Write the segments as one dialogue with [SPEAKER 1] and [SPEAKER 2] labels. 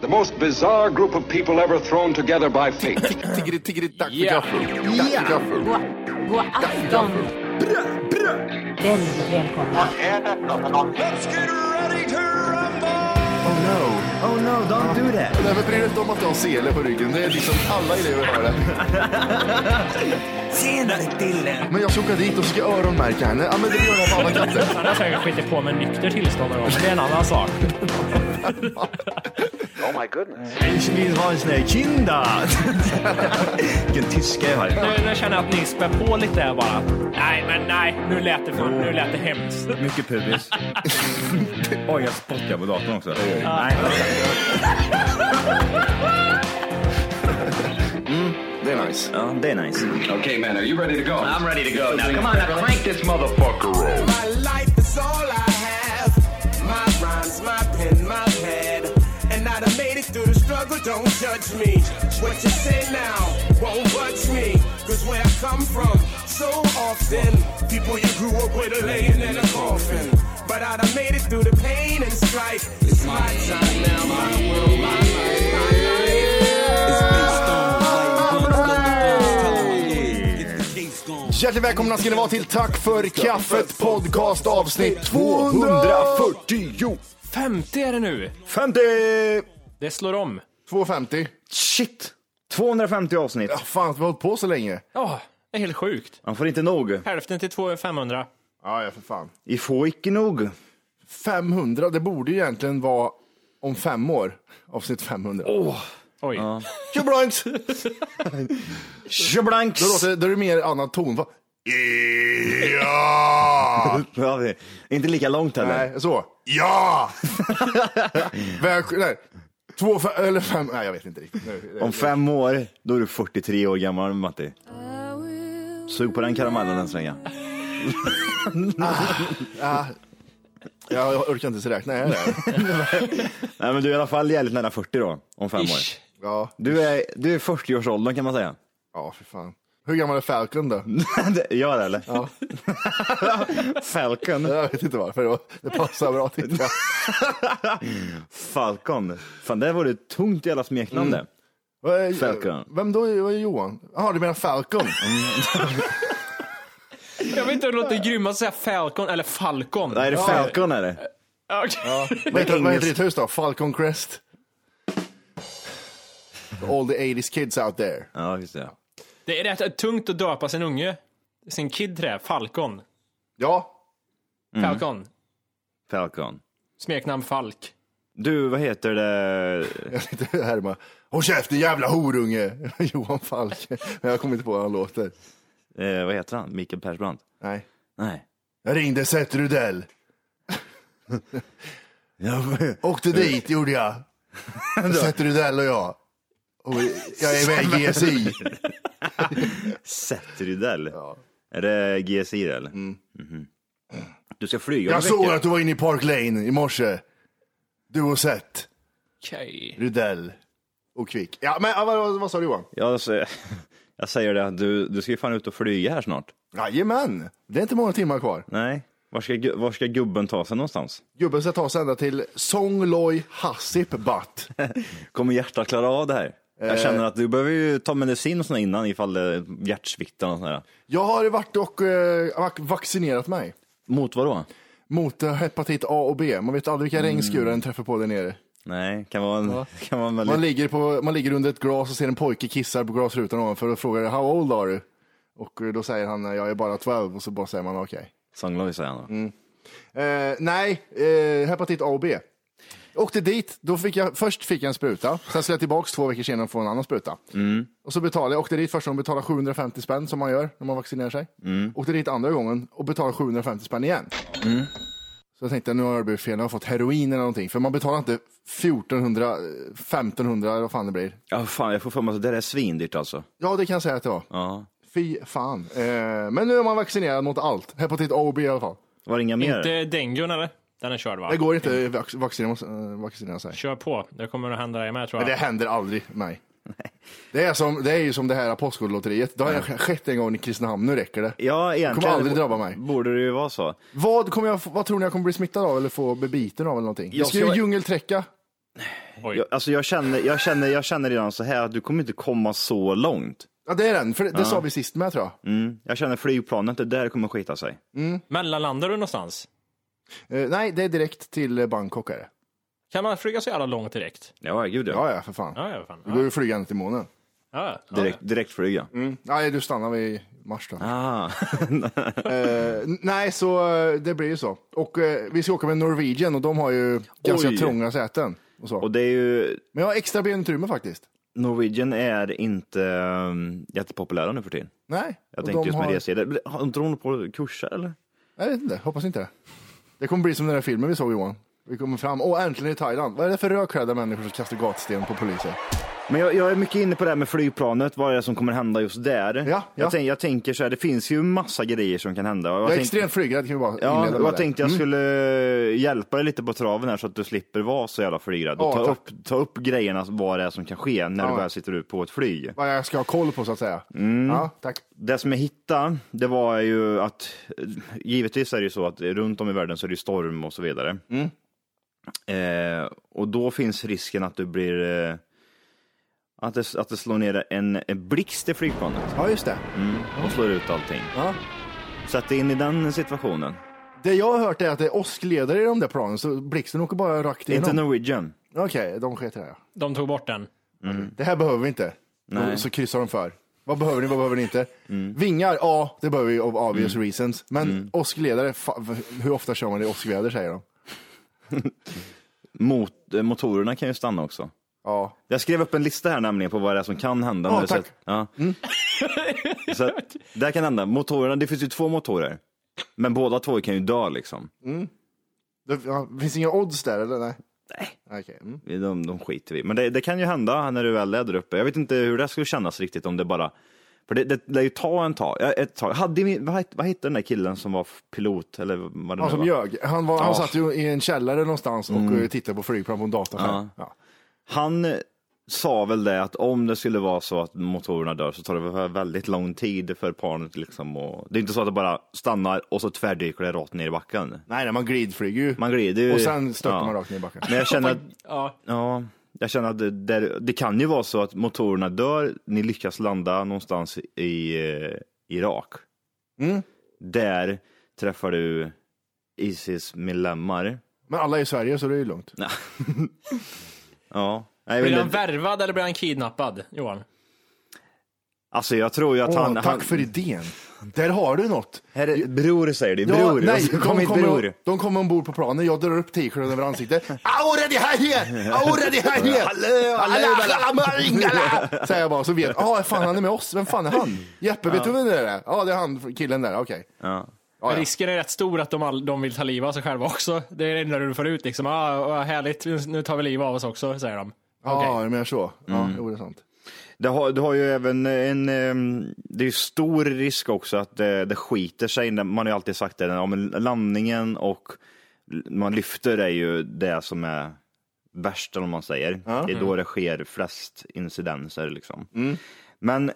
[SPEAKER 1] The most bizarre group of people ever thrown together by fate.
[SPEAKER 2] Tiggeri, tiggeri, dack för
[SPEAKER 3] Ja.
[SPEAKER 2] gaffel. Dack för gaffel.
[SPEAKER 4] God, god afton. Väldigt välkomna.
[SPEAKER 2] Oh no.
[SPEAKER 5] Oh no, don't do that.
[SPEAKER 2] Nej, men bry dig inte om att du har sele på ryggen. Det är liksom alla elever har det.
[SPEAKER 5] Senare Dille.
[SPEAKER 2] Men jag ska åka dit och ska öronmärka henne. Ja, men det gör jag på alla katter.
[SPEAKER 3] Han har säkert skitit på med nykter tillstånd någon gång, men det är en annan sak.
[SPEAKER 5] Ich will was ne Kinder. Vilken tyska jag har.
[SPEAKER 3] Nu, nu känner jag att ni spär på lite här bara. Nej, men nej, nu lät det, för, nu lät det hemskt.
[SPEAKER 6] Mycket pubis. Oj, jag spottar på datorn också. Nej.
[SPEAKER 2] Det är nice.
[SPEAKER 6] Ja, det är nice.
[SPEAKER 1] okay, man, are you ready to go?
[SPEAKER 7] I'm ready to go now. Come on, now crank this motherfucker up.
[SPEAKER 8] My life is all I have. My rhymes, my pen, my pad. And I done made it through the struggle, don't judge me. What you say now won't budge me. Cause where I come from, so often, people you grew up with are laying in a coffin. But I done made it through the pain and strife. It's my time now, my world, my life, my life. It's based on
[SPEAKER 2] Hjärtligt välkomna ska ni vara till Tack för kaffet podcast avsnitt 240.
[SPEAKER 3] 50 är det nu.
[SPEAKER 6] 50!
[SPEAKER 3] Det slår om.
[SPEAKER 2] 250.
[SPEAKER 6] Shit! 250 avsnitt.
[SPEAKER 2] Ja, fan, vi har hållit på så länge.
[SPEAKER 3] Ja, det är helt sjukt.
[SPEAKER 6] Man får inte nog.
[SPEAKER 3] Hälften till 2 är 500.
[SPEAKER 2] Ja, ja, för fan.
[SPEAKER 6] I får icke nog.
[SPEAKER 2] 500, det borde ju egentligen vara om fem år. Avsnitt 500.
[SPEAKER 3] Oj.
[SPEAKER 2] Tjoblankt!
[SPEAKER 6] Tjoblanks!
[SPEAKER 2] Då låter då är det mer annan ton. Va? Ja!
[SPEAKER 6] Ja, vi- inte lika långt heller.
[SPEAKER 2] Nej, så. Ja! Väl, nej. Två, fem, eller fem, nej jag vet inte riktigt. Nu-
[SPEAKER 6] Om fem år, då är du 43 år gammal, Matti. Sug på den karamellen en svänga.
[SPEAKER 2] Jag, jag orkar inte så räkna. Jag är där.
[SPEAKER 6] Nej, men du är i alla fall jävligt nära 40 då, om fem år.
[SPEAKER 3] Ish.
[SPEAKER 2] Ja,
[SPEAKER 6] Du är, du är 40-årsåldern kan man säga.
[SPEAKER 2] ja för fan. Hur gammal är Falcon då?
[SPEAKER 6] Gör det eller? Ja. Falcon.
[SPEAKER 2] Jag vet inte varför, det var- det passar bra till.
[SPEAKER 6] Falcon. Fan, det vore ett tungt jävla smeknamn
[SPEAKER 2] Mm.
[SPEAKER 6] det.
[SPEAKER 2] Vad är-
[SPEAKER 6] Falcon.
[SPEAKER 2] Vem då? Vad är Johan? Jaha, du menar Falcon?
[SPEAKER 3] Jag vet inte hur det låter grymmast att säga Falcon eller Falcon.
[SPEAKER 6] Nej, är det
[SPEAKER 3] Ja.
[SPEAKER 6] Falcon är det?
[SPEAKER 3] Ja, okej.
[SPEAKER 2] Vad heter, vad heter
[SPEAKER 6] Engelskt.
[SPEAKER 2] ditt hus då? Falcon Crest? All the 80s kids out there.
[SPEAKER 6] Ja, just det.
[SPEAKER 3] Det är rätt tungt att döpa sin unge. Sin kid till det, Falcon.
[SPEAKER 2] Ja,
[SPEAKER 3] Falcon.
[SPEAKER 6] Falcon.
[SPEAKER 3] Smeknamn Falk.
[SPEAKER 6] Du, vad heter det?
[SPEAKER 2] jag sitter här med. Håll käften jävla horunge! Johan Falk. Men jag kommer inte på hur han låter.
[SPEAKER 6] Eh, vad heter han? Mikael Persbrandt?
[SPEAKER 2] Nej.
[SPEAKER 6] Nej.
[SPEAKER 2] Jag ringde Seth Rudell.
[SPEAKER 6] Ja,
[SPEAKER 2] Åkte dit gjorde jag. Seth Rudell och jag. Och jag är med i GSI.
[SPEAKER 6] Seth Rydell. Är det GSI det, eller? Mhm. Du ska flyga om
[SPEAKER 2] Mm. Jag
[SPEAKER 6] en
[SPEAKER 2] såg
[SPEAKER 6] vecka.
[SPEAKER 2] att du var inne i Park Lane i morse. Du och Seth
[SPEAKER 3] Okej.
[SPEAKER 2] Rudell och Kvick. Ja, men ja, vad, vad, vad sa du Johan?
[SPEAKER 6] Jag, säger- jag säger det, att du, du ska ju fan ut och flyga här snart.
[SPEAKER 2] Jajamän, det är inte många timmar kvar.
[SPEAKER 6] Nej. Var ska, gu- var ska gubben ta sig någonstans?
[SPEAKER 2] Gubben ska ta sig ända till Songloj Hassipbatt.
[SPEAKER 6] Kommer hjärtat klara av det här? Jag känner att du behöver ju ta medicin och sånt innan ifall det är hjärtsviktar och sånt där.
[SPEAKER 2] Jag har varit och eh, vac- vaccinerat mig.
[SPEAKER 6] Mot vad då?
[SPEAKER 2] mot eh, hepatit A och B. Man vet aldrig vilka regnskurar den träffar på där nere.
[SPEAKER 6] Nej, kan vara en, kan vara en väldigt...
[SPEAKER 2] Man ligger, på, man ligger under ett glas och ser en pojke kissar på glasrutan ovanför och frågar How old are you? Och eh, då säger han jag är bara 12 och så bara säger man okej.
[SPEAKER 6] Sångloj säger han då.
[SPEAKER 2] Eh, nej, eh, hepatit A och B. Åkte dit, då fick jag, först fick jag en spruta, sen skulle jag tillbaka två veckor senare och få en annan spruta. Och så betalade jag, åkte dit första gången och betalade 750 spänn som man gör när man vaccinerar sig. Åkte dit andra gången och betalade 750 spänn igen. Så jag tänkte, nu har jag blivit fel, nu har jag fått heroin eller någonting. För man betalar inte 1400, eh, 1500 eller vad fan det blir.
[SPEAKER 6] Ja, fan, jag får för mig att det där är svindyrt alltså.
[SPEAKER 2] Ja, det kan jag säga att det var.
[SPEAKER 6] Ja.
[SPEAKER 2] Fy fan. Eh, men nu är man vaccinerad mot allt. Hepatit A och B i alla fall.
[SPEAKER 6] Var det inga mer?
[SPEAKER 3] Inte dengun eller? Den är körd va?
[SPEAKER 2] Det går inte att vac- vaccinera, vaccinera sig.
[SPEAKER 3] Kör på. Det kommer att hända dig med tror
[SPEAKER 2] Men
[SPEAKER 3] jag.
[SPEAKER 2] det händer aldrig mig. Det är, som, det är ju som det här Postkodlotteriet. Det har jag skett en gång i Kristinehamn, nu räcker det.
[SPEAKER 6] Ja, egentligen.
[SPEAKER 2] kommer aldrig drabba mig.
[SPEAKER 6] Borde det ju vara så.
[SPEAKER 2] Vad, kommer jag, få- vad tror ni jag kommer bli smittad av eller få bebiten av eller någonting? Jag
[SPEAKER 6] Jag
[SPEAKER 2] ska ju
[SPEAKER 6] ska-
[SPEAKER 2] djungelträcka.
[SPEAKER 3] Oj.
[SPEAKER 6] Jag, alltså jag, känner, jag, känner, jag känner redan så här att du kommer inte komma så långt.
[SPEAKER 2] Ja, det är den. För det, det sa vi sist med tror jag.
[SPEAKER 6] Mm. Jag känner flygplanet, det där kommer skita sig.
[SPEAKER 3] Mellanlandar du någonstans?
[SPEAKER 6] Mm.
[SPEAKER 2] Eh, nej, det är direkt till eh, Bangkok. Är det.
[SPEAKER 3] Kan man flyga så jävla långt direkt?
[SPEAKER 6] Ja, gud ja.
[SPEAKER 2] Ja, ja, för fan.
[SPEAKER 3] Ja, ja, fan.
[SPEAKER 2] Du går
[SPEAKER 3] Ja,
[SPEAKER 2] ju flygande till månen.
[SPEAKER 3] ja, ja.
[SPEAKER 6] Direkt, direktflyg ja. Mm.
[SPEAKER 2] Nej, du stannar vid Mars då.
[SPEAKER 6] Ah.
[SPEAKER 2] Eh, n- nej, så eh, det blir ju så. Och eh, vi ska åka med Norwegian och de har ju ganska
[SPEAKER 6] Oj.
[SPEAKER 2] trånga säten. Och så.
[SPEAKER 6] Och det är ju,
[SPEAKER 2] Men jag har extra benutrymme faktiskt.
[SPEAKER 6] Norwegian är inte um, jättepopulära nu för tiden.
[SPEAKER 2] Nej.
[SPEAKER 6] Jag
[SPEAKER 2] och
[SPEAKER 6] tänker
[SPEAKER 2] de
[SPEAKER 6] just med
[SPEAKER 2] har-
[SPEAKER 6] resor. Har inte de på kurser eller?
[SPEAKER 2] Jag vet inte, hoppas inte det. Det kommer bli som den där filmen vi såg Johan. Vi kommer fram, åh äntligen i Thailand. Vad är det för rödklädda människor som kastar gatsten på poliser?
[SPEAKER 6] Men jag, jag är mycket inne på det här med flygplanet, vad är det som kommer hända just där?
[SPEAKER 2] ja.
[SPEAKER 6] Jag, tänk, jag tänker så här, det finns ju massa grejer som kan hända. Och
[SPEAKER 2] Jag är
[SPEAKER 6] tänk-
[SPEAKER 2] extremt Mm. flygrädd kan vi bara
[SPEAKER 6] Ja,
[SPEAKER 2] inleda
[SPEAKER 6] och
[SPEAKER 2] med
[SPEAKER 6] jag
[SPEAKER 2] det.
[SPEAKER 6] tänkte jag skulle eh, hjälpa dig lite på traven här så att du slipper vara så jävla flygrädd.
[SPEAKER 2] Ja,
[SPEAKER 6] Och ta,
[SPEAKER 2] tack.
[SPEAKER 6] upp, ta upp grejerna, vad det är som kan ske när
[SPEAKER 2] Ja.
[SPEAKER 6] du väl sitter ut på ett flyg.
[SPEAKER 2] Vad jag ska ha koll på så att säga.
[SPEAKER 6] Mm.
[SPEAKER 2] Ja, tack.
[SPEAKER 6] Det som jag hittade, det var ju att givetvis är det ju så att runt om i världen så är det ju storm och så vidare. Eh, och då finns risken att du blir eh, att det, att det slår ner en, en blixt i flygplanet
[SPEAKER 2] Ja, just det.
[SPEAKER 6] och slår ut allting.
[SPEAKER 2] Ja.
[SPEAKER 6] Sätt dig in i den situationen.
[SPEAKER 2] Det jag har hört är att det är åskledare i de där planen, så blixten åker bara rakt
[SPEAKER 6] Det är inte
[SPEAKER 2] igenom.
[SPEAKER 6] Norwegian.
[SPEAKER 2] Okej, de skiter i det.
[SPEAKER 3] De tog bort den.
[SPEAKER 2] Det här behöver vi inte.
[SPEAKER 6] Nej. Mm.
[SPEAKER 2] Och Så kryssar de för. Vad behöver ni, vad behöver ni inte? Vingar, ja, det behöver vi of obvious reasons. Men åskledare, fa- hur ofta kör man i åskväder säger de?
[SPEAKER 6] Mot, eh, motorerna kan ju stanna också.
[SPEAKER 2] Ja,
[SPEAKER 6] Jag skrev upp en lista här nämligen på vad det är som kan hända.
[SPEAKER 2] Ja,
[SPEAKER 6] när det-
[SPEAKER 2] tack. Mm.
[SPEAKER 6] Så, att- ja. så att, det här kan hända. Motorerna, det finns ju två motorer. Men båda två kan ju dö liksom.
[SPEAKER 2] Det ja, finns inga odds där eller? Nej. Nej. Okej. Mm.
[SPEAKER 6] De, de skiter vi i. Men det, det kan ju hända när du väl är där uppe. Jag vet inte hur det skulle kännas riktigt om det bara... För det, det lär ju ta en tag. ja, Ett tag. Hade, vi- vad, het- vad hette den där killen som var pilot? Eller vad det
[SPEAKER 2] Han
[SPEAKER 6] nu
[SPEAKER 2] som
[SPEAKER 6] var?
[SPEAKER 2] ljög. Han, var, han
[SPEAKER 6] Ja.
[SPEAKER 2] satt ju i en källare någonstans och eh, tittade på flygplan på en dataskärm. Ja.
[SPEAKER 6] Han eh, sa väl det att om det skulle vara så att motorerna dör så tar det väl väldigt lång tid för planet liksom och Det är inte så att det bara stannar och så tvärdyker det rakt ner i backen.
[SPEAKER 2] Nej, nej, man glidflyger ju.
[SPEAKER 6] Man glider ju.
[SPEAKER 2] Och sen störtar
[SPEAKER 6] Ja.
[SPEAKER 2] man rakt ner i backen.
[SPEAKER 6] Men jag känner att,
[SPEAKER 3] Ja.
[SPEAKER 6] ja, jag känner att det, det, det kan ju vara så att motorerna dör, ni lyckas landa någonstans i eh, Irak.
[SPEAKER 2] Mm.
[SPEAKER 6] Där träffar du Isis-medlemmar.
[SPEAKER 2] Men alla är i Sverige så det är ju lugnt.
[SPEAKER 6] Ja. Nej,
[SPEAKER 3] Blir
[SPEAKER 6] men
[SPEAKER 3] han
[SPEAKER 6] det-
[SPEAKER 3] värvad eller blir han kidnappad, Johan?
[SPEAKER 6] Alltså jag tror ju att
[SPEAKER 2] Åh,
[SPEAKER 6] han...
[SPEAKER 2] tack
[SPEAKER 6] han,
[SPEAKER 2] för idén. Där har du något.
[SPEAKER 6] Här är, bror säger du, bror.
[SPEAKER 2] nej,
[SPEAKER 6] Alltså, kom
[SPEAKER 2] de,
[SPEAKER 6] hit
[SPEAKER 2] kommer,
[SPEAKER 6] bror.
[SPEAKER 2] de kommer ombord på planen, jag drar upp t-shirten över ansiktet. Aura det här här! Aura det här här!
[SPEAKER 6] Hallå, hallå,
[SPEAKER 2] Alla, alla, ingala! Säger jag bara, så vet Ja, fan han är med oss. Vem fan är han? Jeppe, vet du vem det är? Ja, det är han, killen där. Okej.
[SPEAKER 6] Ja.
[SPEAKER 2] Ja, ja.
[SPEAKER 3] Risken är rätt stor att de, all, de vill ta livet av sig själva också. Det är det enda du får ut liksom. Ah, vad härligt, nu tar vi livet av oss också, säger de.
[SPEAKER 2] Ja, du menar så. Ja, jo, det är sant.
[SPEAKER 6] Det har, du har ju även en, ehm, det är ju stor risk också att det, det skiter sig. Man har ju alltid sagt det, ja, men landningen och l- man lyfter är ju det som är värst om man säger. Det är då det sker flest incidenser liksom. Men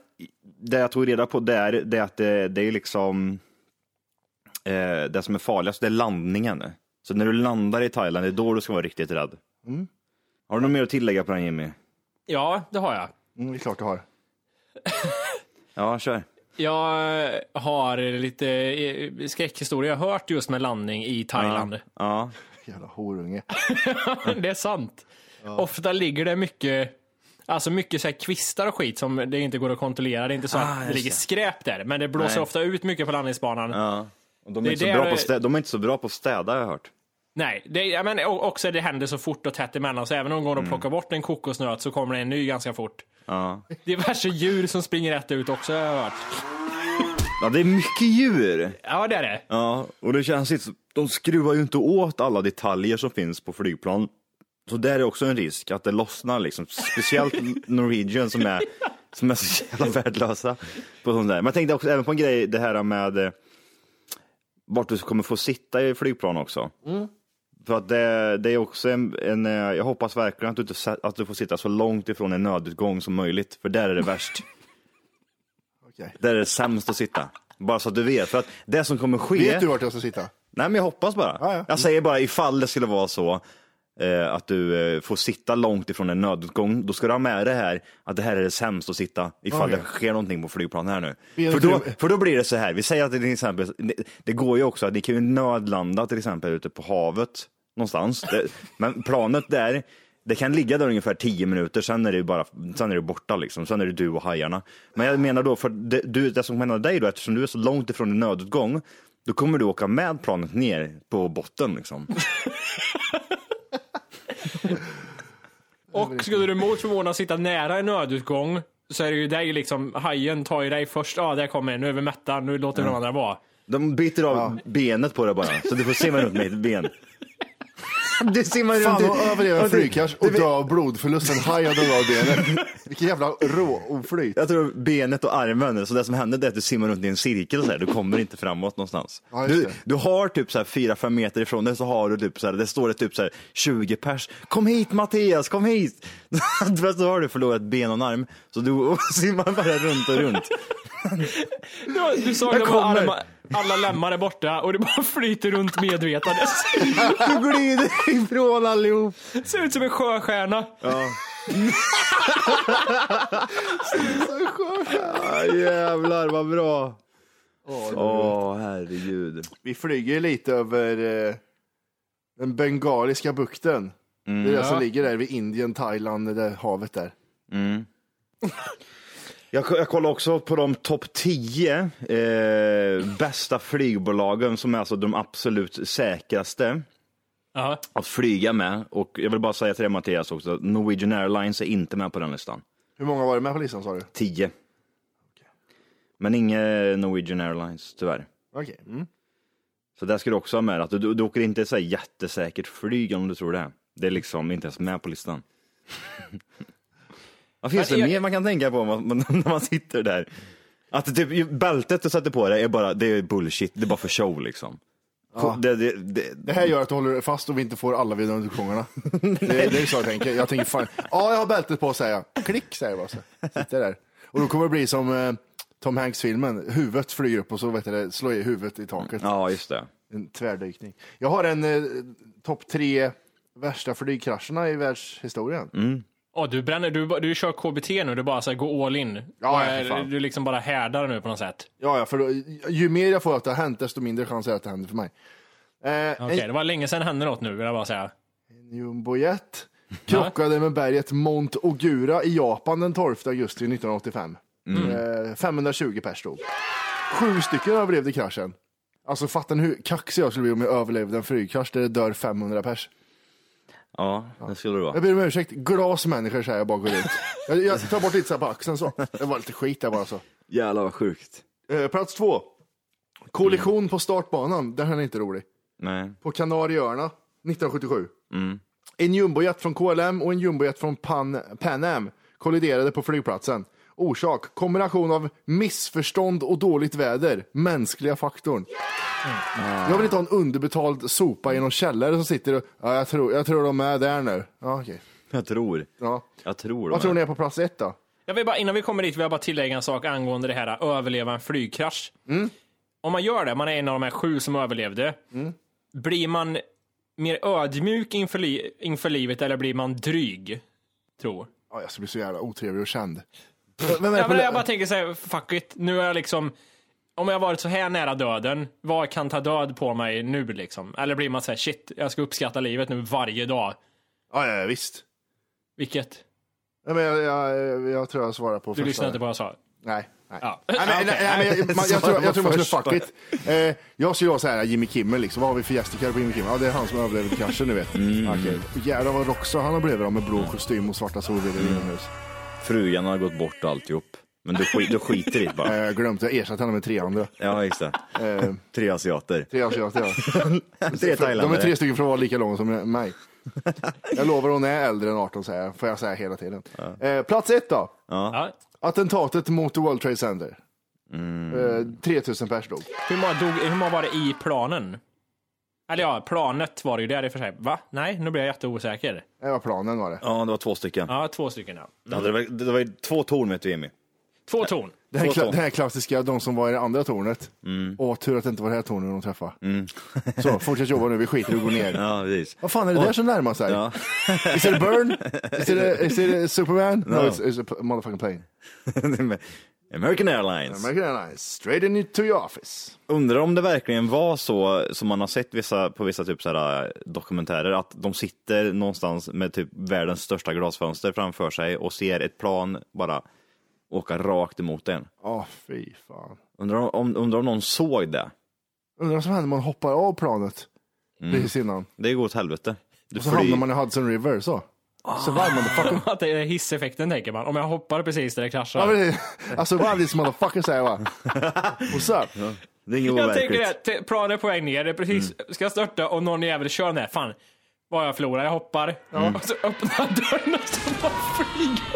[SPEAKER 6] det jag tog reda på där, det är att det, det är liksom eh, det som är farligast, det är landningen. Så när du landar i Thailand, det är då du ska vara riktigt rädd. Har du något mer att tillägga på den Jimmy?
[SPEAKER 3] Ja, det har jag.
[SPEAKER 2] Mm, det är klart du har.
[SPEAKER 6] Ja, kör.
[SPEAKER 3] Jag eh, har lite eh, skräckhistoria jag har hört just med landning i Thailand.
[SPEAKER 6] Ja.
[SPEAKER 2] Jävla horunge.
[SPEAKER 3] det är sant. Ofta ligger det mycket, alltså mycket så här kvistar och skit som det inte går att kontrollera. Det är inte så att det ligger skräp där, men det blåser
[SPEAKER 6] Nej.
[SPEAKER 3] ofta ut mycket på landningsbanan.
[SPEAKER 6] Ja. Och de,
[SPEAKER 3] Det
[SPEAKER 6] är
[SPEAKER 3] är
[SPEAKER 6] inte
[SPEAKER 3] det
[SPEAKER 6] så bra
[SPEAKER 3] jag-
[SPEAKER 6] på stä- de är inte så bra på att städa har jag hört.
[SPEAKER 3] Nej, det, jag menar, och också det händer så fort och tätt emellan, så även om de går och plockar bort en kokosnöt så kommer det en ny ganska fort.
[SPEAKER 6] Mm. Ja.
[SPEAKER 3] Diverse djur som springer rätt ut också har jag hört.
[SPEAKER 6] ja, det är mycket djur.
[SPEAKER 3] Ja, det är det.
[SPEAKER 6] Ja, och det känns inte, så- de skruvar ju inte åt alla detaljer som finns på flygplan. Så där är också en risk att det lossnar liksom. Speciellt Norwegian som är, som är så jävla värdelösa. På sånt där. Men jag tänkte också även på en grej, det här med eh, vart du kommer få sitta i flygplan också. För att det, det är också en, en, eh, jag hoppas verkligen att du, inte, sa- att du får sitta så långt ifrån en nödutgång som möjligt, för där är det värst.
[SPEAKER 2] Okej.
[SPEAKER 6] Där är det sämst att sitta. Bara så att du vet, för att det som kommer ske...
[SPEAKER 2] Vet du vart jag ska sitta?
[SPEAKER 6] Nej, men jag hoppas bara.
[SPEAKER 2] Ja, ja.
[SPEAKER 6] Jag säger bara ifall det skulle vara så eh, att du eh, får sitta långt ifrån en nödutgång, då ska du ha med det här att det här är det sämst att sitta ifall
[SPEAKER 2] Okej.
[SPEAKER 6] det sker någonting på flygplan här nu.
[SPEAKER 2] Vi är
[SPEAKER 6] För då,
[SPEAKER 2] naturlig-
[SPEAKER 6] för då blir det så här, vi säger att det till exempel, det- det går ju också, att ni kan ju nödlanda till exempel ute på havet någonstans, det, men planet där, det kan ligga där ungefär 10 minuter, sen är det ju bara, sen är det borta liksom, sen är det du och hajarna. Men jag menar då, för det, du, det som händer dig då, eftersom du är så långt ifrån en nödutgång, då kommer du åka med planet ner på botten liksom.
[SPEAKER 3] Och skulle du mot förmodan sitta nära en nödutgång så är det ju dig liksom, hajen tar ju dig först. Ja, ah, där kommer en, nu är vi mätta, nu låter vi de andra vara.
[SPEAKER 6] De biter av benet på det bara, så du får simma runt med ett ben. Du simmar runt.
[SPEAKER 2] Fan, att överleva en
[SPEAKER 6] du-
[SPEAKER 2] flygkrasch
[SPEAKER 6] du
[SPEAKER 2] och
[SPEAKER 6] vet-
[SPEAKER 2] dö av blodförlust. En haj hade rör benet. Vilken jävla råoflyt.
[SPEAKER 6] Jag tror benet och armen, så det som händer det är att du simmar runt i en cirkel så här. du kommer inte framåt någonstans.
[SPEAKER 2] Ja, just
[SPEAKER 6] du,
[SPEAKER 2] det.
[SPEAKER 6] du har typ så här 4-5 meter ifrån dig så har du typ så här, det står det typ så här 20 pers. Kom hit Mattias, kom hit! Fast då har du förlorat ben och en arm, så du simmar bara runt och runt.
[SPEAKER 3] Du, du såg
[SPEAKER 6] Jag
[SPEAKER 3] det bara
[SPEAKER 6] kommer.
[SPEAKER 3] arma, alla lemmar är borta och du bara flyter runt medvetandes.
[SPEAKER 6] Du glider ifrån allihop.
[SPEAKER 3] Ser ut som en sjöstjärna.
[SPEAKER 6] Ah, jävlar vad bra. Åh herregud.
[SPEAKER 2] Vi flyger lite över eh, den bengaliska bukten. Det är det som ligger där vid Indien, Thailand, det där havet där.
[SPEAKER 6] Jag, jag kollar också på de topp 10 eh, bästa flygbolagen som är alltså de absolut säkraste
[SPEAKER 3] Ja.
[SPEAKER 6] att flyga med. Och jag vill bara säga till dig Mattias också, att Norwegian Airlines är inte med på den listan.
[SPEAKER 2] Hur många var det med på listan sa du?
[SPEAKER 6] 10. Men inget Norwegian Airlines tyvärr.
[SPEAKER 2] Okej. Mm.
[SPEAKER 6] Så där ska du också ha med att du, du, du åker inte så här jättesäkert flyg om du tror det. Det är liksom inte ens med på listan. Vad finns
[SPEAKER 3] Men
[SPEAKER 6] det
[SPEAKER 3] jag-
[SPEAKER 6] mer man kan tänka på när man, när man sitter där? Att typ, ju- bältet du sätter på dig är bara det är bullshit, det är bara för show liksom. Det, det, det,
[SPEAKER 2] Det här gör att du håller fast och vi inte får alla vid undergångarna. det, det är så jag tänker. Jag tänker fan, ja jag har bältet på säger jag. Klick säger jag bara. Så. Sitter där. Och då kommer det bli som eh, Tom Hanks-filmen. Huvudet flyger upp och så vet du, det, slår i huvudet i taket.
[SPEAKER 6] ja, just det.
[SPEAKER 2] En tvärdykning. Jag har en eh, topp tre värsta flygkrascherna i världshistorien.
[SPEAKER 3] Åh, du, bränner, du, ba- du kör KBT nu, du bara så här, går all in.
[SPEAKER 2] Ja,
[SPEAKER 3] Och
[SPEAKER 2] ja, för
[SPEAKER 3] är-
[SPEAKER 2] fan.
[SPEAKER 3] du liksom bara härdar nu på något sätt.
[SPEAKER 2] Ja, ja, för då, ju mer jag får att det har hänt, desto mindre chans är det att det händer för mig. Eh,
[SPEAKER 3] Okej, det var länge sedan hände något nu, vill jag bara säga.
[SPEAKER 2] En jumbojet krockade med berget Mount Ogura i Japan den 12 augusti 1985. Eh, 520 pers dog. Sju stycken överlevde kraschen. Alltså fattar ni hur kaxig jag skulle bli om jag överlevde en flygkrasch där det dör 500 pers?
[SPEAKER 6] Ja, det skulle det vara.
[SPEAKER 2] Jag ber om ursäkt, glas människor säger jag bara går ut. Jag, jag tar bort lite så här på axeln så. Det var lite skit där bara så.
[SPEAKER 6] Jävlar vad sjukt.
[SPEAKER 2] Eh, plats två. Kollision på startbanan. Den här är inte rolig.
[SPEAKER 6] Nej.
[SPEAKER 2] på Kanarieöarna 1977. En jumbojet från KLM och en jumbojet från Pan, Pan Am kolliderade på flygplatsen. Orsak, kombination av missförstånd och dåligt väder, mänskliga faktorn. Jag vill inte ha en underbetald sopa i någon källare som sitter och, ja, jag, tror, jag tror de är där nu. Ja, okej.
[SPEAKER 6] Jag tror.
[SPEAKER 2] ja.
[SPEAKER 6] Jag tror.
[SPEAKER 2] Vad tror ni är på plats ett då?
[SPEAKER 3] Jag vill bara, innan vi kommer dit vill jag bara tillägga en sak angående det här att överleva en flygkrasch.
[SPEAKER 2] Mm.
[SPEAKER 3] Om man gör det, man är en av de här sju som överlevde,
[SPEAKER 2] Mm.
[SPEAKER 3] blir man mer ödmjuk inför, li, inför livet eller blir man dryg? Tror.
[SPEAKER 2] Ja, jag ska bli så jävla otrevlig och känd. Vem är det
[SPEAKER 3] Ja,
[SPEAKER 2] på
[SPEAKER 3] men
[SPEAKER 2] li-
[SPEAKER 3] jag bara tänker så här, fuck it, nu är jag liksom, om jag varit så här nära döden, vad kan ta död på mig nu liksom? Eller blir man så här, shit, jag ska uppskatta livet nu varje dag.
[SPEAKER 2] ja, ja, ja, visst.
[SPEAKER 3] Vilket,
[SPEAKER 2] Ja, men jag, jag, jag tror jag svarar på
[SPEAKER 3] du lyssnade inte på vad jag sa.
[SPEAKER 2] Nej. nej.
[SPEAKER 3] Ja.
[SPEAKER 2] nej, men, nej, nej, men jag, man, jag, tror, jag tror man skulle fuck it. Eh, jag skulle vara så här, Jimmy Kimmel, liksom. vad har vi för gästikar på Jimmy Kimmel? Ja, det är han som överlevde kraschen, du vet. Mm. Jävlar vad rockstar han har blivit av med blå kostym och svarta solbrillor inomhus.
[SPEAKER 6] Frugan har gått bort och alltihop. Men du, skit, du skiter i det
[SPEAKER 2] Eh,
[SPEAKER 6] bara.
[SPEAKER 2] Jag glömde, jag ersatte henne med tre andra.
[SPEAKER 6] Ja, just det.
[SPEAKER 2] Eh,
[SPEAKER 6] Tre asiater.
[SPEAKER 2] tre asiater, ja.
[SPEAKER 6] Tre
[SPEAKER 2] De är
[SPEAKER 6] thailändare.
[SPEAKER 2] tre stycken från att vara lika långa som mig. Jag lovar, hon är äldre än 18, säger jag. får jag säga hela tiden. Eh, plats ett då.
[SPEAKER 3] Ja.
[SPEAKER 2] Attentatet mot The World Trade Center. Eh, 3000 pers dog.
[SPEAKER 3] Hur många, dog, hur många var det i planen? Eller ja, planet var det ju där i och för sig. Va? Nej, nu blir jag jätteosäker.
[SPEAKER 2] Det var planen var det.
[SPEAKER 6] Ja, det var två stycken.
[SPEAKER 3] Ja, två stycken. Ja.
[SPEAKER 6] Ja, det, var, det var ju två torn vet du Jimmy.
[SPEAKER 3] Två torn.
[SPEAKER 2] Det här, är
[SPEAKER 6] Två
[SPEAKER 2] kla-
[SPEAKER 6] ton. Mm.
[SPEAKER 2] det här är klassiska, de som var i det andra tornet. Åh, tur att det inte var det här tornet de träffade. Så, fortsätt jobba nu, vi skiter i att gå ner.
[SPEAKER 6] Ja, precis.
[SPEAKER 2] Vad fan är det där som närmar sig? Is it a burn? Is it, a, is it a Superman? No,
[SPEAKER 6] No.
[SPEAKER 2] it's, it's a p- motherfucking plane.
[SPEAKER 6] American Airlines.
[SPEAKER 2] American Airlines, straight into your office.
[SPEAKER 6] Undrar om det verkligen var så som man har sett vissa, på vissa typ så här dokumentärer, att de sitter någonstans med typ världens största glasfönster framför sig och ser ett plan bara åka rakt emot en.
[SPEAKER 2] Åh, fy fan.
[SPEAKER 6] Undrar om, undrar om någon såg det?
[SPEAKER 2] Undrar vad som händer om man hoppar av planet
[SPEAKER 6] Mm.
[SPEAKER 2] precis innan.
[SPEAKER 6] Det går åt helvete. Du
[SPEAKER 2] Och så hamnar man i Hudson River, så. Survive motherfucker.
[SPEAKER 6] Ah.
[SPEAKER 3] Att det är hisseffekten tänker man. Om jag hoppar precis där det
[SPEAKER 2] Ja, men
[SPEAKER 3] kraschar.
[SPEAKER 2] det- I survive this motherfucker, säger jag va. What's up?
[SPEAKER 6] Det är inget
[SPEAKER 3] Jag tänker
[SPEAKER 6] overkligt.
[SPEAKER 3] det, t- planet är på väg ner, det är precis,
[SPEAKER 2] Mm.
[SPEAKER 3] ska jag störta och någon jävel kör ner. Fan, vad jag förlorar, jag hoppar.
[SPEAKER 2] Mm.
[SPEAKER 3] Och så öppnar jag dörren och så bara flyger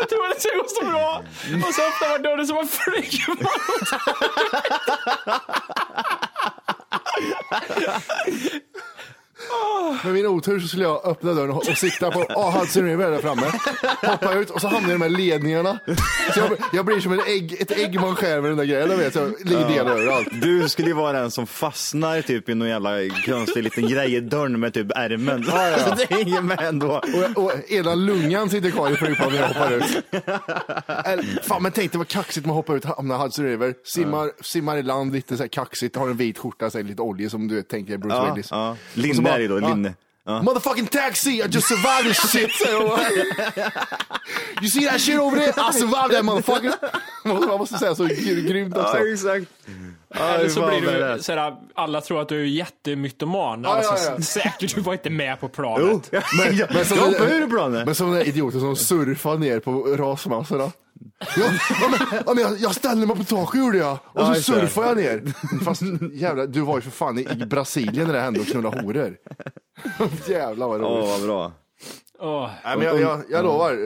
[SPEAKER 3] Jag tror att det går så bra.
[SPEAKER 2] Mm.
[SPEAKER 3] Och så öppnar man dörren så bara flyger man.
[SPEAKER 2] Med min otur så skulle jag öppna dörren och, och sikta på oh, Hudson River där framme. Hoppa ut och så hamnar jag i de här ledningarna. Så jag, jag blir som en ägg, ett ägg man skär med den där grejen, jag vet jag. Ligger delar överallt.
[SPEAKER 6] Du skulle ju vara den som fastnar typ i någon jävla konstig liten grej i dörren med typ ärmen. Alltså, det är inget med ändå.
[SPEAKER 2] Och, och ena lungan sitter kvar i flygplanet när jag hoppar ut. Eller, fan men tänk dig vad kaxigt man hoppar ut, hamnar i Hudson River, simmar, simmar i land lite så här kaxigt, har en vit skjorta, så här, lite olja som du vet, tänker dig Bruce
[SPEAKER 6] Ja,
[SPEAKER 2] Willis.
[SPEAKER 6] ja.
[SPEAKER 2] Och så
[SPEAKER 6] Linne
[SPEAKER 2] bara,
[SPEAKER 6] är det då,
[SPEAKER 2] ja.
[SPEAKER 6] linne. Ja.
[SPEAKER 2] Motherfucking taxi! I just survived this shit! säger jag. you see that shit over there? I survived that motherfucker! Man måste säga så gr- grymt också.
[SPEAKER 6] exakt.
[SPEAKER 3] Eller så blir du såhär, alla tror att du är jättemytoman.
[SPEAKER 2] ja,
[SPEAKER 3] Alltså,
[SPEAKER 2] ja.
[SPEAKER 3] Säkert, du var inte med på planet.
[SPEAKER 6] Men, jag
[SPEAKER 2] men så-
[SPEAKER 6] hoppade ur planet.
[SPEAKER 2] Men som den där idioten som surfar ner på rasmassorna. Ja, ja, men, ja, men jag, jag ställde mig på taket gjorde jag och
[SPEAKER 6] Ja,
[SPEAKER 2] så
[SPEAKER 6] just det.
[SPEAKER 2] surfar jag ner. Fast jävlar, du var ju för fan i i Brasilien när det hände och knullade horor. Jävlar vad
[SPEAKER 6] Åh,
[SPEAKER 2] roligt.
[SPEAKER 6] vad bra.
[SPEAKER 3] Åh.
[SPEAKER 2] Nej, men jag, jag, jag lovar, eh,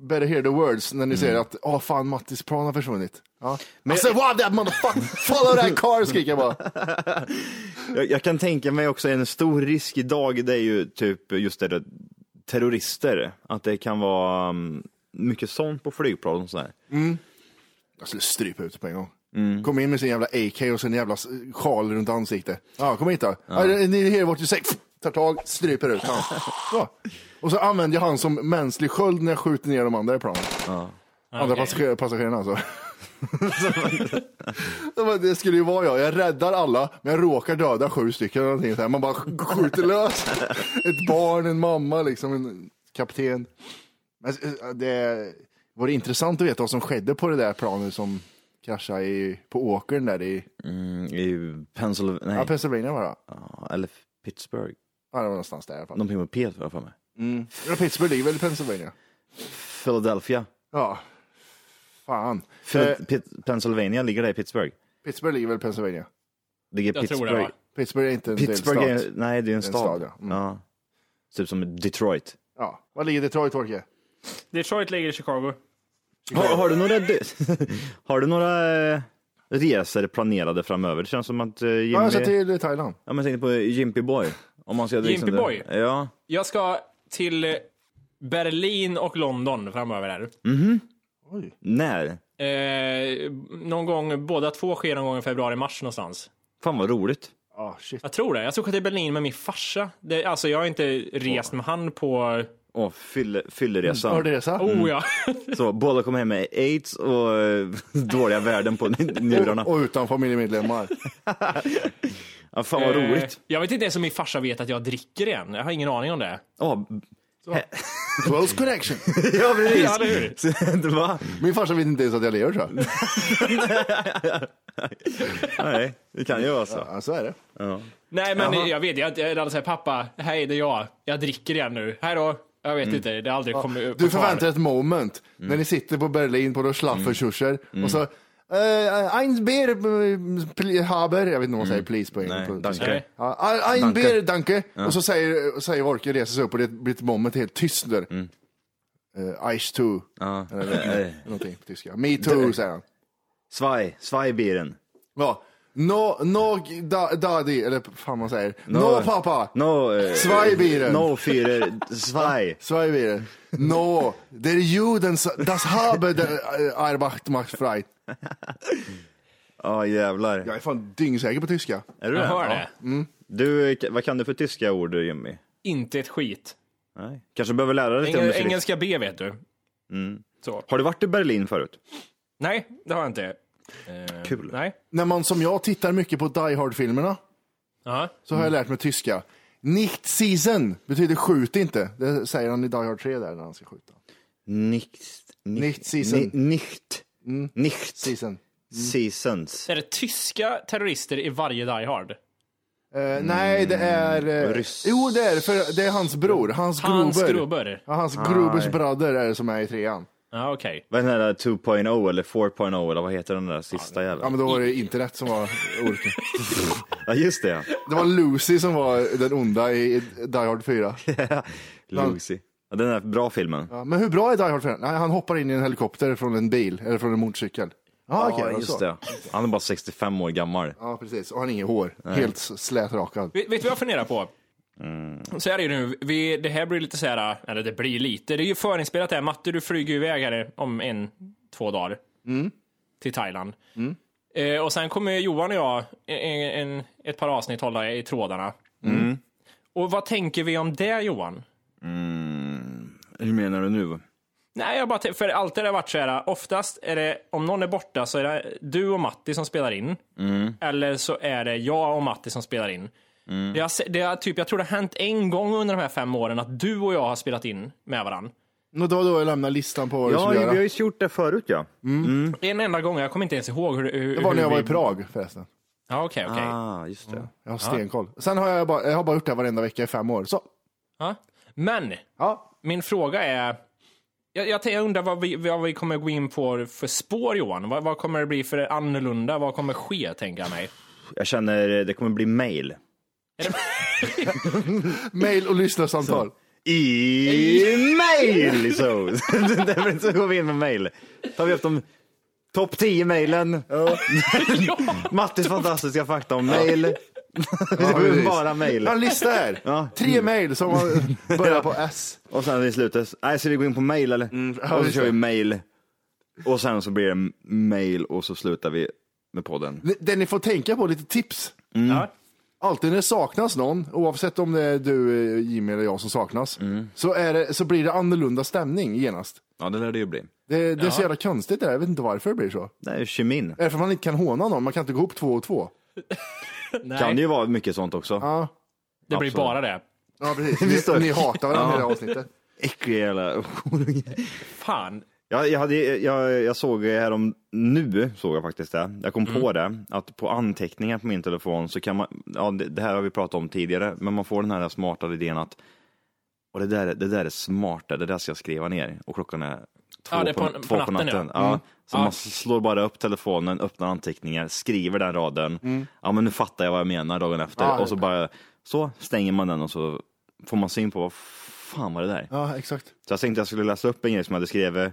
[SPEAKER 2] better hear the words när ni säger att åh fan Mattis plan har försvunnit. Ja. Men I said wow that motherfucker, follow that car skriker jag bara.
[SPEAKER 6] Jag, jag kan tänka mig också en stor risk idag, det är ju typ just det, där, terrorister. Att det kan vara um, mycket sånt på flygplan och sådär.
[SPEAKER 2] Jag skulle strypa ut på en gång. Kom in med sin jävla AK och sin jävla s- sjal runt ansiktet. Ja, kom hit då. Ja. Ni hear what you say. Pff, Tar tag, stryper ut han. Ja. Och så använder jag han som mänsklig sköld när jag skjuter ner de andra i planet. Andra
[SPEAKER 3] Okej.
[SPEAKER 2] passager- passagerarna alltså. Det var- det skulle ju vara jag. Jag räddar alla, men jag råkar döda sju stycken. Eller någonting så här. Man bara sk- skjuter lös. Ett barn, en mamma, liksom, en kapten. Men eh, det vore intressant att veta vad som skedde på det där planet som kraschade i, på åkern där i
[SPEAKER 6] Mm, I Pennsylvania,
[SPEAKER 2] ja,
[SPEAKER 6] nej,
[SPEAKER 2] Pennsylvania var det.
[SPEAKER 6] ja, eller Pittsburgh.
[SPEAKER 2] Ja, det var någonstans där i alla fall.
[SPEAKER 6] Någonting med P har jag för mig.
[SPEAKER 2] Ja, Pittsburgh ligger väl i Pennsylvania?
[SPEAKER 6] Philadelphia.
[SPEAKER 2] Ja. Fan.
[SPEAKER 6] Phil-
[SPEAKER 2] Eh,
[SPEAKER 6] Pitt- Pennsylvania, ligger det i Pittsburgh?
[SPEAKER 2] Pittsburgh ligger väl i Pennsylvania?
[SPEAKER 6] Ligger
[SPEAKER 3] Jag tror det,
[SPEAKER 6] Pittsburgh.
[SPEAKER 3] va?
[SPEAKER 2] Pittsburgh är inte en
[SPEAKER 6] Pittsburgh
[SPEAKER 2] delstat.
[SPEAKER 6] är, nej det är en
[SPEAKER 2] en
[SPEAKER 6] stad.
[SPEAKER 2] stad, ja. Mm.
[SPEAKER 6] ja. Typ som Detroit.
[SPEAKER 2] Ja. Var ligger Detroit, Torke?
[SPEAKER 3] Detroit ligger i Chicago.
[SPEAKER 6] Har, har du några, har du några eh, resor planerade framöver? Det känns som att eh, Jimmy...
[SPEAKER 2] Ja,
[SPEAKER 6] Ja,
[SPEAKER 2] jag ska till Thailand.
[SPEAKER 6] men jag tänkte på Jimpy Boy. Om man ska liksom-
[SPEAKER 3] Jimpy Boy?
[SPEAKER 6] Ja.
[SPEAKER 3] Jag ska till eh, Berlin och London framöver här.
[SPEAKER 6] När?
[SPEAKER 3] Eh, någon gång, båda två sker någon gång i februari-mars någonstans.
[SPEAKER 6] Fan vad roligt.
[SPEAKER 2] Ja, shit.
[SPEAKER 3] Jag tror det. Jag ska åka till Berlin med min farsa. Det, alltså jag har inte rest med han på...
[SPEAKER 6] Åh, fylle, fylleresan.
[SPEAKER 2] Hörde det så?
[SPEAKER 3] Oh ja!
[SPEAKER 6] Så båda kom hem med aids och eh, dåliga värden på njurarna.
[SPEAKER 2] Och utan familjemedlemmar.
[SPEAKER 6] Ja, fan vad roligt.
[SPEAKER 3] Eh, jag vet inte ens om min farsa vet att jag dricker igen. Jag har ingen aning om det.
[SPEAKER 6] Oh.
[SPEAKER 2] Close connection.
[SPEAKER 6] Ja, precis.
[SPEAKER 3] Ja, eller hur?
[SPEAKER 6] Så det var-
[SPEAKER 2] Min farsa vet inte ens att jag lever tror jag.
[SPEAKER 6] Nej, det kan ju vara så.
[SPEAKER 2] Ja, så är det.
[SPEAKER 3] Nej, men jag vet. Jag, jag hade sagt pappa, hej det är jag. Jag dricker igen nu. Hej då. Jag vet inte, det har aldrig kommit upp.
[SPEAKER 2] Mm. Du
[SPEAKER 3] på tal.
[SPEAKER 2] förväntar dig ett moment när ni sitter på Berlin på några schlafferkurser och så Uh, ein Bier eh, pl- haber, jag vet inte vad man säger please på engelska.
[SPEAKER 6] Nej, danke.
[SPEAKER 3] Nej.
[SPEAKER 2] Ja, ein- ein Bier danke. Och så säger, säger Wolke, reser sig upp och det blir ett moment helt tyst där. Mm. ice eh, too,
[SPEAKER 6] Ja.
[SPEAKER 2] någonting på tyska. Me too, säger han.
[SPEAKER 6] Svaj, svajbieren.
[SPEAKER 2] Ja. No, no da, daddy, eller fan man säger. No, pappa!
[SPEAKER 6] No, eh,
[SPEAKER 2] Zwei Bieren.
[SPEAKER 6] No Führer, zwei.
[SPEAKER 2] Sverige blir det. No, det är juden, das habe der eh, Arbeit macht frei.
[SPEAKER 6] Ja jävlar.
[SPEAKER 2] Jag är fan dyngsäker på tyska.
[SPEAKER 6] Är du
[SPEAKER 3] Jag hör
[SPEAKER 6] Ja.
[SPEAKER 3] det.
[SPEAKER 6] Du, eh, vad kan du för tyska ord Jimmy?
[SPEAKER 3] Inte ett skit.
[SPEAKER 6] Nej. Kanske behöver lära dig till om du
[SPEAKER 3] Engel,
[SPEAKER 6] ska-
[SPEAKER 3] engelska B vet du. Så.
[SPEAKER 6] Har du varit i Berlin förut?
[SPEAKER 3] Nej, det har jag inte.
[SPEAKER 6] Kul.
[SPEAKER 3] Nej.
[SPEAKER 2] När man som jag tittar mycket på Die Hard-filmerna
[SPEAKER 3] Ja.
[SPEAKER 2] så har jag lärt mig tyska. Nicht season betyder skjut inte. Det säger han i Die Hard 3 där när han ska skjuta.
[SPEAKER 6] Nicht.
[SPEAKER 2] Nicht season. Mm.
[SPEAKER 6] ni- Nicht. Nicht.
[SPEAKER 2] Season. Mm.
[SPEAKER 6] Seasons.
[SPEAKER 3] Är det tyska terrorister i varje Die Hard?
[SPEAKER 2] Eh, Nej, det är... eh,
[SPEAKER 6] Ryss.
[SPEAKER 2] Jo, det är det, för det är hans bror. Hans Gruber.
[SPEAKER 3] Hans Gruber?
[SPEAKER 2] Ja, hans Grubers bröder är det som är i trean.
[SPEAKER 3] Ja, okej.
[SPEAKER 6] Vad är den där 2.0 eller 4.0 eller vad heter den där sista
[SPEAKER 2] Ja,
[SPEAKER 6] jäveln?
[SPEAKER 2] men då var det internet som var orken.
[SPEAKER 6] Ja just det ja.
[SPEAKER 2] Det var Lucy som var den onda i Die Hard 4.
[SPEAKER 6] Lucy. Ja, den där bra filmen.
[SPEAKER 2] Ja, men hur bra är Die Hard 4? Nej, han hoppar in i en helikopter från en bil, eller från en motorcykel. Ja, okej, det var
[SPEAKER 6] just
[SPEAKER 2] så.
[SPEAKER 6] det. Han är bara 65 år gammal.
[SPEAKER 2] Ja, precis. Och han har inget hår. Helt slätrakad.
[SPEAKER 3] Vet vet du vad jag funderar på? Så här är det nu, vi, det här blir lite så här, eller det blir lite, det är ju förinspelat det här. Matte, du flyger ju iväg här om en, två dagar. Till Thailand. Eh, och sen kommer Johan och jag en, en, ett par avsnitt hålla i trådarna. Och vad tänker vi om det Johan?
[SPEAKER 6] Hur menar du nu?
[SPEAKER 3] Nej, jag bara t- för alltid har det varit så här, oftast är det, om någon är borta så är det du och Matti som spelar in.
[SPEAKER 6] Mm.
[SPEAKER 3] Eller så är det jag och Matti som spelar in.
[SPEAKER 6] Mm.
[SPEAKER 3] Det har, se- det har, typ, jag tror det har hänt en gång under de här fem åren att du och jag har spelat in med varandra.
[SPEAKER 2] Och då och då jag lämnar listan på vad du
[SPEAKER 6] Ja, vi
[SPEAKER 2] skulle
[SPEAKER 6] har
[SPEAKER 2] göra.
[SPEAKER 6] ju gjort det förut ja.
[SPEAKER 3] En enda gång, jag kommer inte ens ihåg hur det... Hur,
[SPEAKER 2] Det var
[SPEAKER 3] hur
[SPEAKER 2] när jag var
[SPEAKER 3] vi-
[SPEAKER 2] i Prag förresten.
[SPEAKER 3] Ja, okej, okej.
[SPEAKER 6] Ah, just det.
[SPEAKER 2] Jag har stenkoll. Sen har jag bara, jag har bara gjort det här varenda vecka i fem år. Så.
[SPEAKER 3] Ja. Men,
[SPEAKER 2] Ja.
[SPEAKER 3] min fråga är... Jag, jag, jag undrar vad vi, vad vi kommer gå in på för spår, Johan. Vad, vad kommer det bli för annorlunda? Vad kommer ske, tänker jag mig?
[SPEAKER 6] Jag känner eh, det kommer bli mail.
[SPEAKER 2] Mail och lyssnarsamtal.
[SPEAKER 6] I mail! Så. Därför så går vi in med mail. Tar vi upp de topp 10 mailen. Mattis fantastiska fakta om mail.
[SPEAKER 2] precis.
[SPEAKER 6] bara mail. Mm.
[SPEAKER 2] Jag har en lista här. Tre mail som har- börjar på S.
[SPEAKER 6] Och sen i slutet, nej ska vi gå in på mail eller?
[SPEAKER 2] ja,
[SPEAKER 6] och så
[SPEAKER 2] just
[SPEAKER 6] kör vi
[SPEAKER 2] det.
[SPEAKER 6] mail. Och sen så blir det mail och så slutar vi med podden.
[SPEAKER 2] Det ni får tänka på, lite tips.
[SPEAKER 6] Mm.
[SPEAKER 3] Ja.
[SPEAKER 2] Alltid när det saknas någon, oavsett om det är du, eh, Jimmy eller jag som saknas,
[SPEAKER 6] Mm.
[SPEAKER 2] så, är det, så blir det annorlunda stämning genast.
[SPEAKER 6] Ja det lär det ju bli.
[SPEAKER 2] Det, det är så jävla konstigt det där, jag vet inte varför det blir så.
[SPEAKER 6] Det är ju kemin.
[SPEAKER 2] Är det för att man inte kan håna någon? Man kan inte gå ihop två och två.
[SPEAKER 3] Nej,
[SPEAKER 6] Kan det ju vara mycket sånt också.
[SPEAKER 2] Ja,
[SPEAKER 3] det blir
[SPEAKER 6] absolut.
[SPEAKER 3] bara det.
[SPEAKER 2] ja precis. Ni, ni hatar varandra i det här avsnittet.
[SPEAKER 6] Äcklig jävla
[SPEAKER 3] Fan,
[SPEAKER 6] Jag, jag, hade, jag, jag såg härom, nu såg jag faktiskt det, jag kom
[SPEAKER 3] Mm.
[SPEAKER 6] på det, att på anteckningar på min telefon så kan man, ja det, det här har vi pratat om tidigare, men man får den här smarta idén att, och det där, är- det där är smarta, det där ska jag skriva ner och klockan är två,
[SPEAKER 3] Ja, det är
[SPEAKER 6] på,
[SPEAKER 3] på- på
[SPEAKER 6] två på
[SPEAKER 3] natten,
[SPEAKER 6] natten.
[SPEAKER 3] ja.
[SPEAKER 6] Ja.
[SPEAKER 3] Mm.
[SPEAKER 6] Så
[SPEAKER 3] Ja.
[SPEAKER 6] man slår bara upp telefonen, öppnar anteckningar, skriver den raden,
[SPEAKER 3] Mm.
[SPEAKER 6] ja men nu fattar jag vad jag menar dagen efter
[SPEAKER 2] Ja,
[SPEAKER 6] och så
[SPEAKER 2] det-
[SPEAKER 6] bara, så stänger man den och så får man syn på vad fan var det där?
[SPEAKER 2] Ja, exakt.
[SPEAKER 6] Så jag tänkte jag skulle läsa upp en grej som jag hade skrivit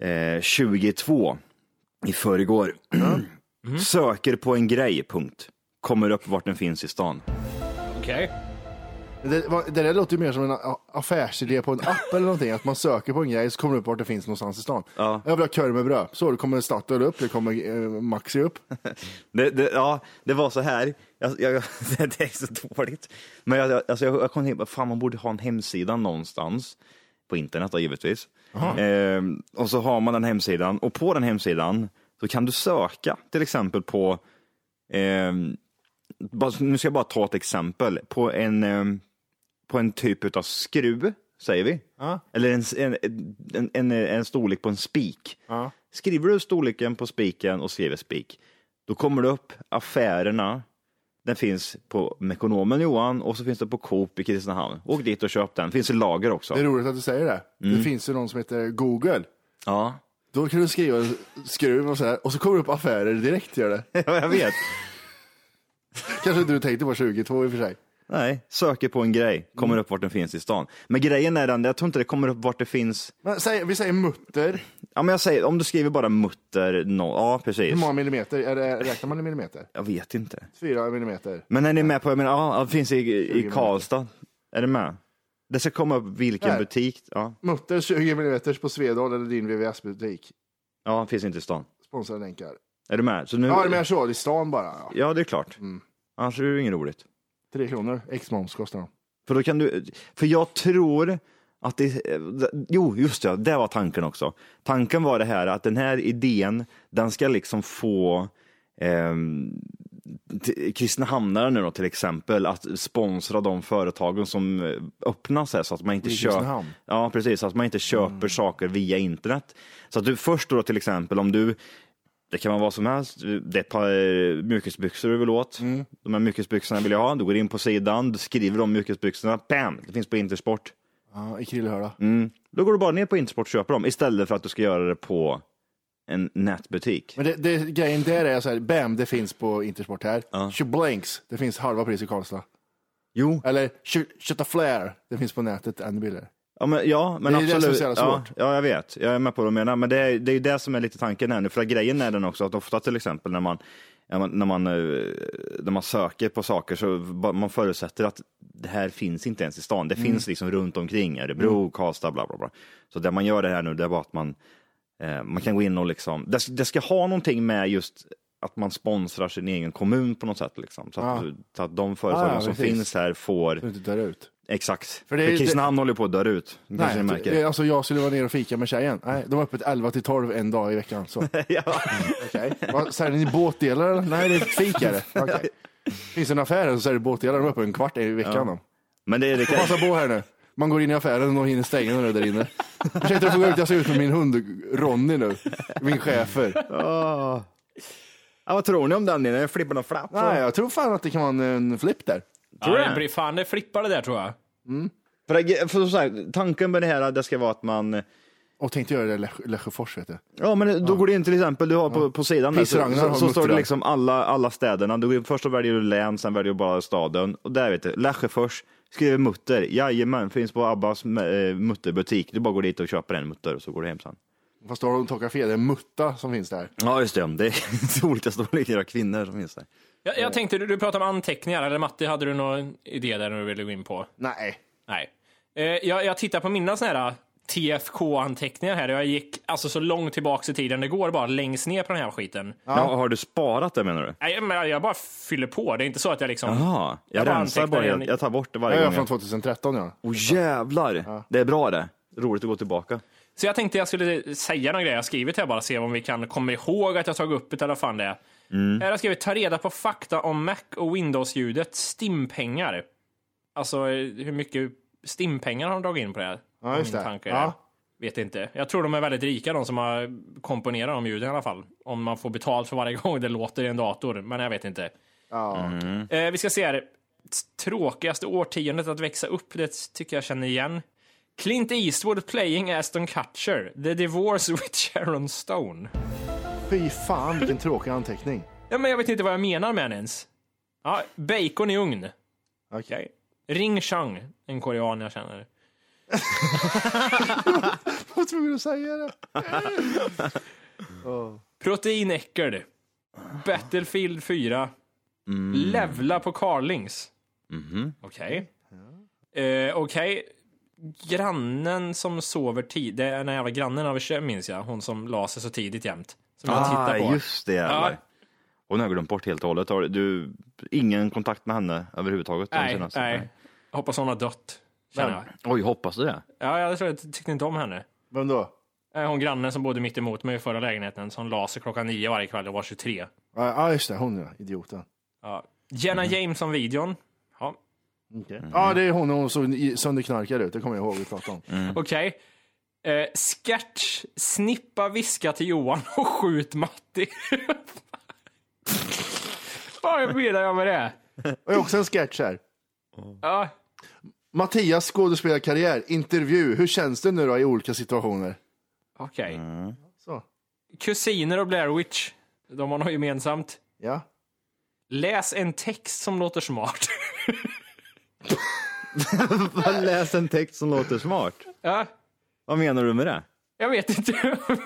[SPEAKER 6] eh, 22 i förrgår. Söker på en grej, punkt. Kommer upp vart den finns i stan.
[SPEAKER 3] okej.
[SPEAKER 2] Det, vad- det där låter ju mer som en a- affärsidé på en app eller någonting. Att man söker på en grej så kommer det upp vart det finns någonstans i stan.
[SPEAKER 6] Ja.
[SPEAKER 2] Jag vill ha korv med bröd. Så, då kommer Statoil upp, det kommer eh, Maxi upp.
[SPEAKER 6] Det, det, ja, det var så här. Jag, jag, det är så dåligt. Men jag, jag- alltså jag, jag kom till fan man borde ha en hemsida någonstans. På internet då, givetvis. Ehm, och så har man den hemsidan och på den hemsidan så kan du söka till exempel på, ehm, bara- nu ska jag bara ta ett exempel, på en, ehm, på en typ av skruv, säger vi. Eller en, en, en, en, en storlek på en spik. Skriver du storleken på spiken och skriver spik, då kommer det upp affärerna. Den finns på Mekonomen Johan och så finns det på Coop i Kristinehamn. Åk dit och köp den. Finns i lager också.
[SPEAKER 2] Det är roligt att du säger det. Det finns ju någon som heter Google.
[SPEAKER 6] Ja,
[SPEAKER 2] Då kan du skriva skruv och så här och så kommer det upp affärer direkt. Gör det.
[SPEAKER 6] jag vet.
[SPEAKER 2] Kanske inte du tänkte på 22 i och för sig.
[SPEAKER 6] Nej, söker på en grej, kommer upp vart den finns i stan. Men grejen är den, jag tror inte det kommer upp vart det finns.
[SPEAKER 2] Men säg, vi säger mutter.
[SPEAKER 6] Ja, men jag säger, om du skriver bara mutter, no, ja precis.
[SPEAKER 2] Hur många millimeter? Är det, räknar man i millimeter?
[SPEAKER 6] Jag vet inte.
[SPEAKER 2] Fyra millimeter.
[SPEAKER 6] Men är ni med på, jag menar, ja, det finns i, i Karlstad. Är du med? Det ska komma upp vilken
[SPEAKER 2] Där.
[SPEAKER 6] butik. Ja,
[SPEAKER 2] Mutter 20 millimeter på Svedala eller din VVS-butik.
[SPEAKER 6] ja, finns inte i stan.
[SPEAKER 2] Sponsrade länkar.
[SPEAKER 6] Är du med? Så nu,
[SPEAKER 2] Ja, det Mm. menar så. I stan bara. Ja.
[SPEAKER 6] Ja, det är klart. Annars är det ju inget roligt.
[SPEAKER 2] Tre kronor. Ex-moms kostar de.
[SPEAKER 6] För då kan du, för jag tror att det, jo just det, det var tanken också. Tanken var det här att den här idén, den ska liksom få eh, Kristinehamnare nu då till exempel att sponsra de företagen som eh, öppnas här så att man inte
[SPEAKER 2] I
[SPEAKER 6] köper,
[SPEAKER 2] Kristinehamn? Mm.
[SPEAKER 6] ja precis, så att man inte köper saker via internet. Så att du först då till exempel om du det kan vara vad som helst. Det är ett par eh, mjukisbyxor du vill åt.
[SPEAKER 2] Mm.
[SPEAKER 6] De här mjukisbyxorna vill jag ha. Du går in på sidan, du skriver de mjukisbyxorna. Bam! Det finns på Intersport.
[SPEAKER 2] Ja, I Krillehöla.
[SPEAKER 6] Mm. Då går du bara ner på Intersport och köper dem istället för att du ska göra det på en nätbutik.
[SPEAKER 2] Men det, det, grejen där är så här, bam, det finns på Intersport här. Tjoblanks, det finns halva pris i Karlstad.
[SPEAKER 6] Jo,
[SPEAKER 2] Eller Köttaflär, det finns på nätet ännu billigare.
[SPEAKER 6] ja men, ja, men
[SPEAKER 2] Det är det
[SPEAKER 6] absolut.
[SPEAKER 2] som är så jävla
[SPEAKER 6] ja,
[SPEAKER 2] svårt.
[SPEAKER 6] ja, jag vet. Jag är med på vad du menar. Men det är, det är ju det som är lite tanken här nu. För att grejen är den också att ofta till exempel när man när man, när, man, eh, när man söker på saker så bara- man förutsätter att det här finns inte ens i stan. Det finns
[SPEAKER 2] Mm.
[SPEAKER 6] liksom runt omkring Örebro, Karlstad, bla bla bla. Så det man gör det här nu det är bara att man, eh, man kan gå in och liksom, det, det ska ha någonting med just att man sponsrar sin egen kommun på något sätt. Liksom. Så, att,
[SPEAKER 2] Ja.
[SPEAKER 6] så att de företag
[SPEAKER 2] Ja, ja,
[SPEAKER 6] som
[SPEAKER 2] precis.
[SPEAKER 6] finns här får,
[SPEAKER 2] Så det inte dör ut.
[SPEAKER 6] exakt.
[SPEAKER 2] För
[SPEAKER 6] För,
[SPEAKER 2] det är ju-
[SPEAKER 6] Kristinehamn håller på att dö ut, Det kanske ni märker.
[SPEAKER 2] eh, alltså jag skulle vara nere och fika med tjejen. Nej, de har öppet 11 till 12 en dag i veckan. Så.
[SPEAKER 6] ja.
[SPEAKER 2] Okay. Vad, säljer ni båtdelar? eller? Nej, det är fikare. Okej. Finns det en affär här så säljer båtdelar. De är öppet en kvart i veckan. de.
[SPEAKER 6] Men det är det kan...
[SPEAKER 2] Passa på här nu. Man går in i affären och de hinner stänga den där inne. Ursäkta, jag får gå ut. Jag ser ut med min hund Ronny nu. Min chefer.
[SPEAKER 6] ja, vad tror ni om den? Är det flippen och flapp?
[SPEAKER 2] Nej, jag tror fan att det kan vara en, en flipp där.
[SPEAKER 3] Tror
[SPEAKER 6] du
[SPEAKER 3] ja, det
[SPEAKER 6] det?
[SPEAKER 3] blir fan det flippar det där tror jag.
[SPEAKER 6] För, det- för som sagt, tanken med det här det ska vara att man
[SPEAKER 2] Och tänkte göra det i Lesj- Lesjöfors, vet du.
[SPEAKER 6] Ja, men då går det in till exempel, du har på, på sidan där, så,
[SPEAKER 2] Pissragnar har
[SPEAKER 6] så, så står det
[SPEAKER 2] muttrar.
[SPEAKER 6] liksom alla, alla städerna. Du går in, först så väljer du län, sen väljer du bara staden. Och där vet du, Lesjöfors, skriver mutter. Jajamän, finns på Abbas eh, mutterbutik. Du bara går dit och köper en mutter och så går du hem sen.
[SPEAKER 2] Fast då har de tolkat fel. Det är mutta som finns där.
[SPEAKER 6] Ja, just det. Det är olika storlekar av kvinnor som finns där.
[SPEAKER 3] Jag, jag tänkte, du, du pratade om anteckningar, eller Matti, hade du någon idé där du ville gå in på?
[SPEAKER 2] Nej.
[SPEAKER 3] Nej. Eh, jag, jag tittar på mina såna här ah, TFK-anteckningar här och jag gick alltså så långt tillbaks i tiden det går, bara längst ner på den här skiten.
[SPEAKER 6] Ja. har du sparat det menar du?
[SPEAKER 3] Nej, men jag- jag bara fyller på. Det är inte så att jag liksom...
[SPEAKER 6] Jaha, jag,
[SPEAKER 3] Jag bara
[SPEAKER 6] rensar
[SPEAKER 3] antecknar
[SPEAKER 6] bara.
[SPEAKER 3] igen.
[SPEAKER 6] Jag, jag tar bort det
[SPEAKER 2] Jag
[SPEAKER 6] varje
[SPEAKER 2] är
[SPEAKER 6] gång.
[SPEAKER 2] från
[SPEAKER 6] jag-
[SPEAKER 2] 2013, ja.
[SPEAKER 6] Åh jävlar, det är bra det. Roligt att gå tillbaka.
[SPEAKER 3] Så jag tänkte jag skulle säga några grejer jag skrivit här bara, se om vi kan komma ihåg att jag tagit upp det eller vad fan det är.
[SPEAKER 2] Mm.
[SPEAKER 3] Här har jag skrivit, ta reda på fakta om Mac och Windows-ljudet, stimpengar. Alltså eh, hur mycket stimpengar har de dragit in på det här?
[SPEAKER 2] Ja, just
[SPEAKER 3] Min
[SPEAKER 2] det.
[SPEAKER 3] tanke är
[SPEAKER 2] Ja.
[SPEAKER 3] det. Vet inte. Jag tror de är väldigt rika de som har komponerat de ljuden i alla fall. Om man får betalt för varje gång det låter i en dator, men jag vet inte.
[SPEAKER 2] Ja.
[SPEAKER 3] Eh, vi ska se här. T- Tråkigaste årtiondet att växa upp, det tycker jag känner igen. Clint Eastwood playing Aston Kutcher, The Divorce with Sharon Stone.
[SPEAKER 2] Fy fan, vilken tråkig anteckning.
[SPEAKER 3] Ja, men jag vet inte vad jag menar med den ens. Ja, bacon i ugn.
[SPEAKER 2] Okej.
[SPEAKER 3] Ring Chang, en korean jag känner.
[SPEAKER 2] Jag var tvungen att säga det.
[SPEAKER 3] Proteinäckel. Battlefield 4.
[SPEAKER 6] Mm.
[SPEAKER 3] Levla på Carlings.
[SPEAKER 6] Mhm.
[SPEAKER 3] Okej. Eh, Okej. Grannen som sover tidigt. Det är den jävla grannen över kö- minns jag. Hon som la sig så tidigt jämt. Som jag tittar på.
[SPEAKER 6] Ah, just det. Ja. Och nu har jag glömt bort helt och hållet. Har du ingen kontakt med henne överhuvudtaget? de
[SPEAKER 3] Nej,
[SPEAKER 6] senaste?
[SPEAKER 3] nej. Hoppas hon har dött. Känner jag.
[SPEAKER 6] Oj, hoppas du det?
[SPEAKER 3] Ja, jag tror jag tyckte inte om henne.
[SPEAKER 2] Vem då?
[SPEAKER 3] Eh, Hon grannen som bodde mitt emot mig i förra lägenheten som la sig klockan nio varje kväll och var 23.
[SPEAKER 2] Ja, ja, just det. Hon, ja. Idioten.
[SPEAKER 3] Ja. Jenna Jameson-videon. Ja,
[SPEAKER 2] Ja, det är hon hon såg i- sönderknarkad ut. Det kommer jag ihåg vi pratade om.
[SPEAKER 3] Okej. Eh, sketch, snippa, viska till Johan och skjut Matti. Vad menar jag med det?
[SPEAKER 2] Och jag har också en sketch här.
[SPEAKER 3] Ja.
[SPEAKER 2] Mattias skådespelarkarriär, intervju. Hur känns det nu då i olika situationer?
[SPEAKER 3] Okej.
[SPEAKER 2] Så.
[SPEAKER 3] Kusiner och Blair Witch. De har något gemensamt.
[SPEAKER 2] Ja.
[SPEAKER 3] Läs en text som låter smart.
[SPEAKER 6] Vad Läs en text som låter smart.
[SPEAKER 3] Ja,
[SPEAKER 6] Vad menar du med det?
[SPEAKER 3] jag vet inte vad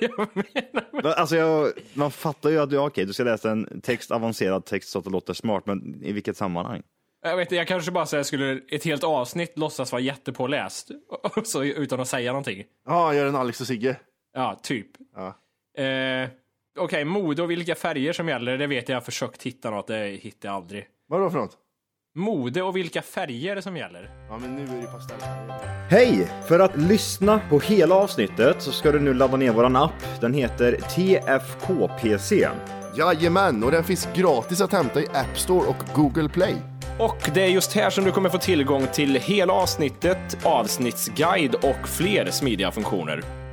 [SPEAKER 3] jag menar.
[SPEAKER 6] Va- Alltså jag, man fattar ju att ja, okej, du ska läsa en text, avancerad text så att det låter smart, men i vilket sammanhang?
[SPEAKER 3] Jag, vet, inte, jag kanske bara så här skulle ett helt avsnitt låtsas vara jättepåläst och så, utan att säga någonting.
[SPEAKER 2] Ja, gör en Alex och Sigge.
[SPEAKER 3] Ja, typ.
[SPEAKER 2] Ja.
[SPEAKER 3] Eh, Okej, mode och vilka färger som gäller, det vet jag. Jag har försökt hitta något, det hittar jag aldrig.
[SPEAKER 2] Vadå för något?
[SPEAKER 3] Mode och vilka färger som gäller.
[SPEAKER 2] Ja, men nu är det pastell.
[SPEAKER 6] Hej! För att lyssna på hela avsnittet så ska du nu ladda ner våran app. Den heter TFKPC.
[SPEAKER 2] Jajamän, och den finns gratis att hämta i App Store och Google Play.
[SPEAKER 3] Och det är just här som du kommer få tillgång till hela avsnittet, avsnittsguide och fler smidiga funktioner.